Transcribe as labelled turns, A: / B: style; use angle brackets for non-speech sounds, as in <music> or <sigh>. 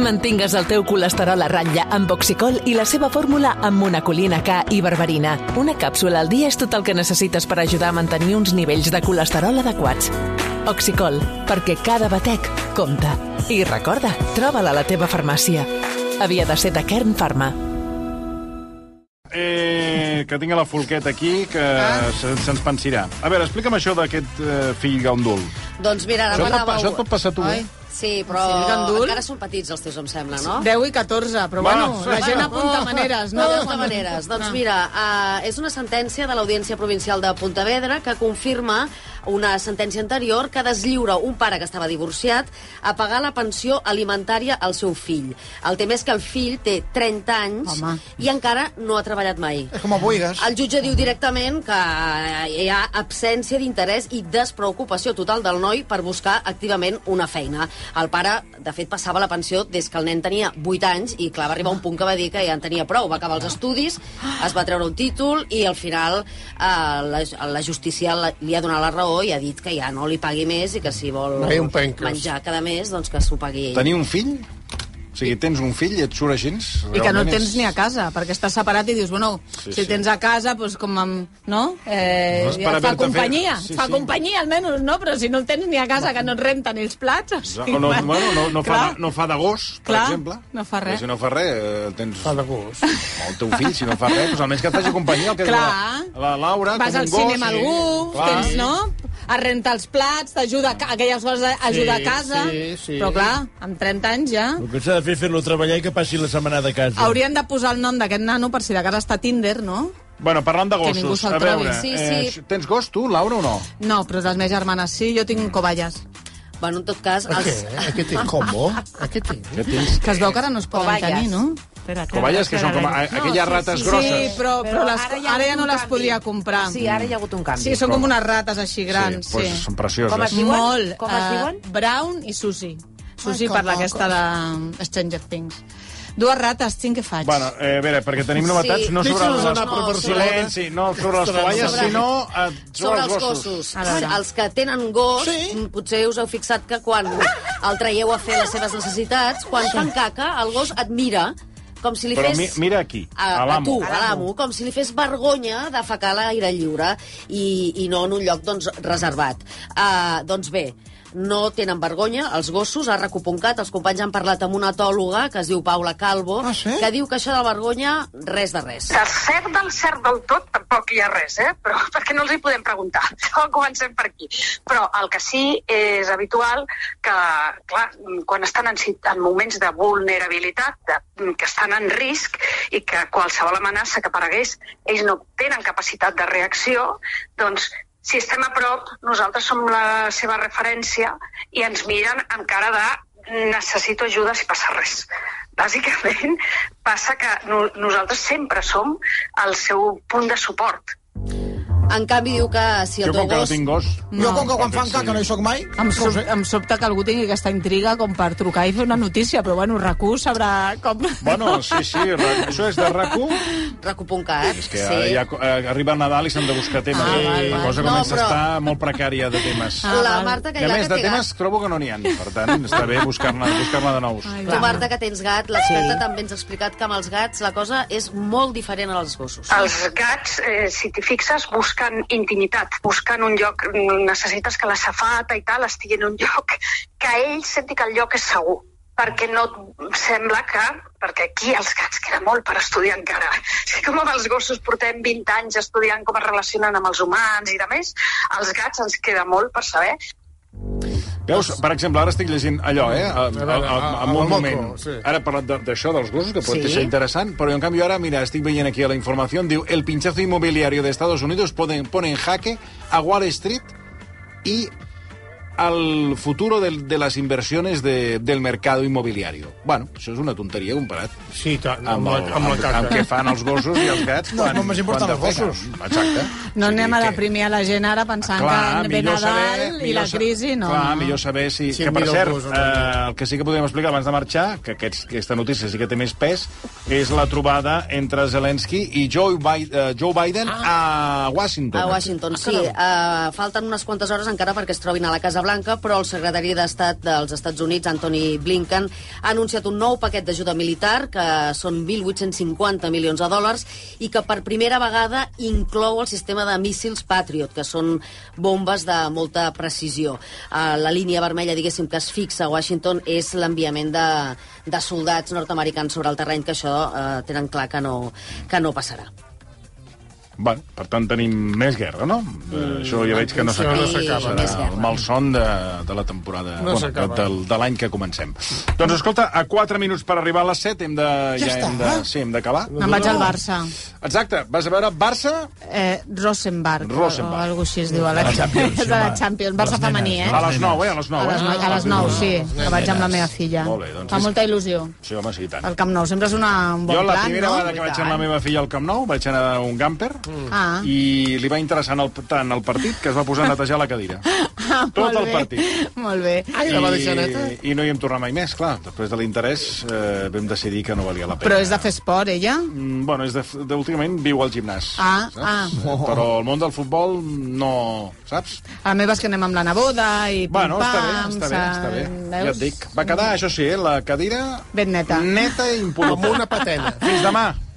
A: Mantingues el teu colesterol a ratlla amb Oxicol i la seva fórmula amb monacolina K i berberina. Una càpsula al dia és tot el que necessites per ajudar a mantenir uns nivells de colesterol adequats. Oxicol, perquè cada batec compta. I recorda, troba-la a la teva farmàcia. Havia de ser de Kern Pharma.
B: Eh, que tinc la Folqueta aquí, que ah. se'ns pensirà. A veure, explica'm això d'aquest eh, fill gandul.
C: Doncs mira,
D: Ah,
B: Això
C: ara
B: et pot
C: m'anava...
B: pa- això et pot passar a tu, eh?
C: Sí, però
D: Sí, gandul.
C: encara són petits els teus, em sembla, no?
D: 10 i 14, però
B: Va,
D: bueno, la
B: sí.
D: gent
B: Va.
D: apunta maneres, no?
C: No, de maneres. Doncs mira, uh, és una sentència de l'Audiència Provincial de Pontevedra que confirma una sentència anterior que deslliura un pare que estava divorciat a pagar la pensió alimentària al seu fill. El tema és que el fill té 30 anys
D: Home.
C: i encara no ha treballat mai.
E: Es como boigas.
C: El jutge diu directament que eh, hi ha absència d'interès i despreocupació total del noi per buscar activament una feina. El pare, de fet, passava la pensió des que el nen tenia 8 anys i, clar, va arribar un punt que va dir que ja en tenia prou. Va acabar els estudis, es va treure un títol i, al final, eh, la, la justícia la- li ha donat la raó i ha dit que ja no li pagui més i que si vol
E: Ai, un pencas.
C: menjar cada mes, doncs que s'ho pagui ell.
B: Tenir un fill? O sigui, tens un fill i et surt així?
D: I que no
B: Realment
D: tens
B: és-
D: ni a casa, perquè estàs separat i dius, bueno,
B: Sí,
D: sí, si
B: sí.
D: el tens a casa, doncs com amb... No? Eh,
B: No és per
D: et fa
B: haver-te
D: companyia,
B: fet- sí,
D: sí, fa
B: sí.
D: companyia almenys, no? Però si no el tens ni a casa, que no et renten els plats... O
B: No, no, bueno, no, no, fa,
D: clar.
B: no fa de gos, per
D: Clar,
B: exemple.
D: no fa res.
B: Si no fa res, eh, tens...
E: Fa de gos.
B: O El teu fill, si no fa res, doncs almenys que et faci companyia. El que diu
D: Clar.
B: La, la Laura,
D: Vas
B: com un
D: al
B: gos,
D: cinema
B: i-
D: algú,
B: Clar.
D: tens, no? A rentar els plats, t'ajuda a ca- aquelles coses d'ajuda
E: Sí,
D: a casa.
E: sí, sí.
D: Però clar, amb 30 anys ja...
F: El que s'ha de fer és fer-lo treballar i que passi la setmana de casa.
D: Haurien de posar el nom d'aquest nano per si de casa està a Tinder, no?
B: Bueno, parlant de
D: Que ningú
B: gossos,
D: se'l
B: a
D: trobi.
B: veure...
C: Sí, sí.
B: Eh, tens gos, tu, Laura, o no?
D: No, però les meves germanes sí, jo tinc cobayes.
C: Bueno, en tot cas...
E: ¿A qué?
C: Els...
E: ¿A qué te como? ¿A qué te
B: Que tens...
D: Que es veu que ara no es poden
G: Cobayes.
D: tenir, no? Espera,
B: Covalles, que són com a, aquelles rates grosses.
D: Sí, però, però, les, ara,
G: hi
D: ja
G: ha hagut
D: no
G: un
D: les
G: canvi.
D: podria comprar.
G: Sí, ara hi ha hagut un canvi.
D: Sí, són
B: Com? doncs
D: com unes rates així grans, sí.
B: Pues, són
G: Com
B: precioses.
G: es diu? diuen?
D: Molt.
G: Com es
D: eh,
G: diuen?
D: Brown i Susi. Susi
E: que
D: per la
E: mocos.
D: aquesta de Stranger Things. Dues rates, tinc que faig.
B: Bueno, eh, a veure, perquè tenim novetats,
C: Sí.
B: no sobre
E: Deixa-nos
B: les...
E: anar per Barcelona.
B: Silenci, no sobre les
E: Sobre-
B: covalles,
C: sobre-
B: sinó eh,
C: sobre els gossos.
D: A veure.
C: Els que tenen gos,
E: Sí.
C: sí. potser us heu fixat que quan el traieu a fer les seves necessitats, quan fan caca, el gos et mira com si li
B: Però
C: fes...
B: mi- mira aquí,
C: a,
B: a l'amo.
C: A tu, a l'amo, com si li fes vergonya de fecar a l'aire lliure i, i no en un lloc doncs, reservat. Uh, doncs bé, no tenen vergonya, els gossos, ha recuponcat, els companys han parlat amb una etòloga que es diu Paula Calvo,
E: Ah, sí?
C: que diu que això de la vergonya, res de res.
H: De cert del cert del tot tampoc hi ha res, eh? però <laughs> perquè no els hi podem preguntar. <laughs> No comencem per aquí. Però el que sí és habitual que, clar, quan estan en, sit- en moments de vulnerabilitat, de, que estan en risc i que qualsevol amenaça que aparegués, ells no tenen capacitat de reacció, doncs si estem a prop, nosaltres som la seva referència i ens miren amb cara de necessito ajuda si passa res. Bàsicament, passa que no, nosaltres sempre som el seu punt de suport.
C: En canvi, diu que si el
B: Jo,
C: teu
B: com que no
C: gos...
B: tinc gos...
E: Yo con que Juan
B: Perfecte,
E: Fanca, que no
B: sí.
E: hizo Gmay.
D: Em, sub, em sobta que algú tingui aquesta intriga com per trucar i fer una notícia, però bueno, recurs sabrà com...
B: Bueno, sí, sí, ra- això és de RAC1.
C: Recuponcat,
B: És que ara ja eh, arriba Nadal i s'han de buscar temes.
D: Ah,
B: Ah,
D: val,
B: la
D: val.
B: cosa
C: No,
B: comença
C: però-
B: a estar molt precària de temes.
D: Ah,
C: la
D: val.
C: Marta
B: I
C: que
B: a
C: ja
B: més, de
C: que té
B: temes trobo que no n'hi ha. Per tant, està bé buscar-ne buscar de nous.
D: Ai,
C: gat. Tu, Marta, que tens gat, l'experta també ens ha explicat que amb els gats la cosa és molt diferent als gossos.
H: Els gats, eh, si t'hi fixes, busquen intimitat, busquen un lloc, necessites que la safata i tal estigui en un lloc que ell senti que el lloc és segur perquè no et sembla que... Perquè aquí els gats queda molt per estudiar encara. <laughs> Si com amb els gossos portem 20 anys estudiant com es relacionen amb els humans i de més, als gats ens queda molt per saber
B: Veus, per exemple, ara estic llegint allò, eh? A, a, a,
E: a-
B: en
E: a la
B: un
E: Moco,
B: moment.
E: sí.
B: Ara he parlat de- d'això dels gossos, que pot
C: Sí.
B: ser interessant, però en canvi ara, mira, estic veient aquí a la informació, diu, el pinchazo inmobiliario de Estados Unidos pone, pone en jaque a Wall Street y al futuro del- de, las inversiones de- del mercado inmobiliario. Bueno, això és una tonteria comparat
E: Sí, tant,
B: amb, el, amb, amb, amb què fan els gossos i els gats.
E: No, només importen
B: quan
E: els
B: defecen.
E: gossos.
B: Exacte.
D: No
B: O sigui
D: anem a
B: que- Ah,
D: deprimir a la gent ara pensant que ve
B: millor
D: Nadal i la
B: millor sa-
D: crisi, no.
B: Clar,
D: no.
B: millor saber si...
E: Sí,
B: que, per
E: mira el
B: cert,
E: gos, home.
B: eh, el que sí que podríem explicar abans de marxar, que aquest, aquesta notícia sí que té més pes, és la trobada entre Zelensky i Joe, Bi eh, Joe
D: Ah.
B: Biden a Washington.
C: Eh, A Washington, sí. Uh, falten unes quantes hores encara perquè es trobin a la Casa Blanca, però el secretari d'Estat dels Estats Units, Anthony Blinken, ha anunciat un nou paquet d'ajuda militar, que són 1.850 milions de dòlars, i que per primera vegada inclou el sistema de míssils Patriot, que són bombes de molta precisió. Eh, La línia vermella, diguéssim, que es fixa a Washington és l'enviament de, de soldats nord-americans sobre el terreny, que això eh, tenen clar que no, que no passarà.
B: Bueno, per tant, tenim més guerra, no? Mm, Això ja veig que no
E: això
B: s'acaba.
E: no s'acaba.
B: Serà
C: Més guerra.
B: El malson de, de la temporada...
E: No s'acaba.
B: de, de l'any que comencem. Doncs escolta, a 4 minuts per arribar a les 7 hem de...
E: Ja està.
B: hem de, sí, hem d'acabar.
D: Me'n vaig al Barça.
B: Exacte, vas a veure Barça...
D: Eh, Rosenberg,
B: Rosenborg.
D: o alguna així es diu. A la,
F: Champions,
D: és de la
F: home.
D: Champions, Barça
F: Les nenes,
D: femení, eh?
F: no?
B: A les 9, eh? A les 9,
D: A les,
B: eh?
D: nou- a les 9, sí, que vaig amb la meva filla.
B: Molt bé, doncs
D: Fa
B: és-
D: molta il·lusió.
B: Sí, home, sí, i tant.
D: El Camp Nou sempre és una, un bon
B: Jo la
D: plan,
B: primera
D: no?
B: vegada que vaig amb la meva filla al Camp Nou vaig anar a un gamper mm.
D: Ah.
B: i li va interessar el, tant el partit que es va posar a netejar la
D: <laughs>
B: cadira.
D: Ah,
B: Tot
D: molt
B: el
D: bé,
B: partit.
D: Molt bé.
E: Ai, la va deixar neta.
B: I no hi hem tornat mai més, clar. Després de l'interès eh, vam decidir que no valia la pena.
D: Però és de fer esport, ella?
B: Mm, bueno, és de, de, últimament viu al gimnàs.
D: Ah,
B: saps? Però el món del futbol no... Saps?
D: A la meva és que anem amb la neboda i pim,
B: Bueno, està bé,
D: pam,
B: està bé, està bé.
D: sant-
B: Ja et dic. Va quedar, això sí, eh, la cadira...
D: Ben neta.
B: Neta i impoluta.
E: Com una patena.
B: Fins demà.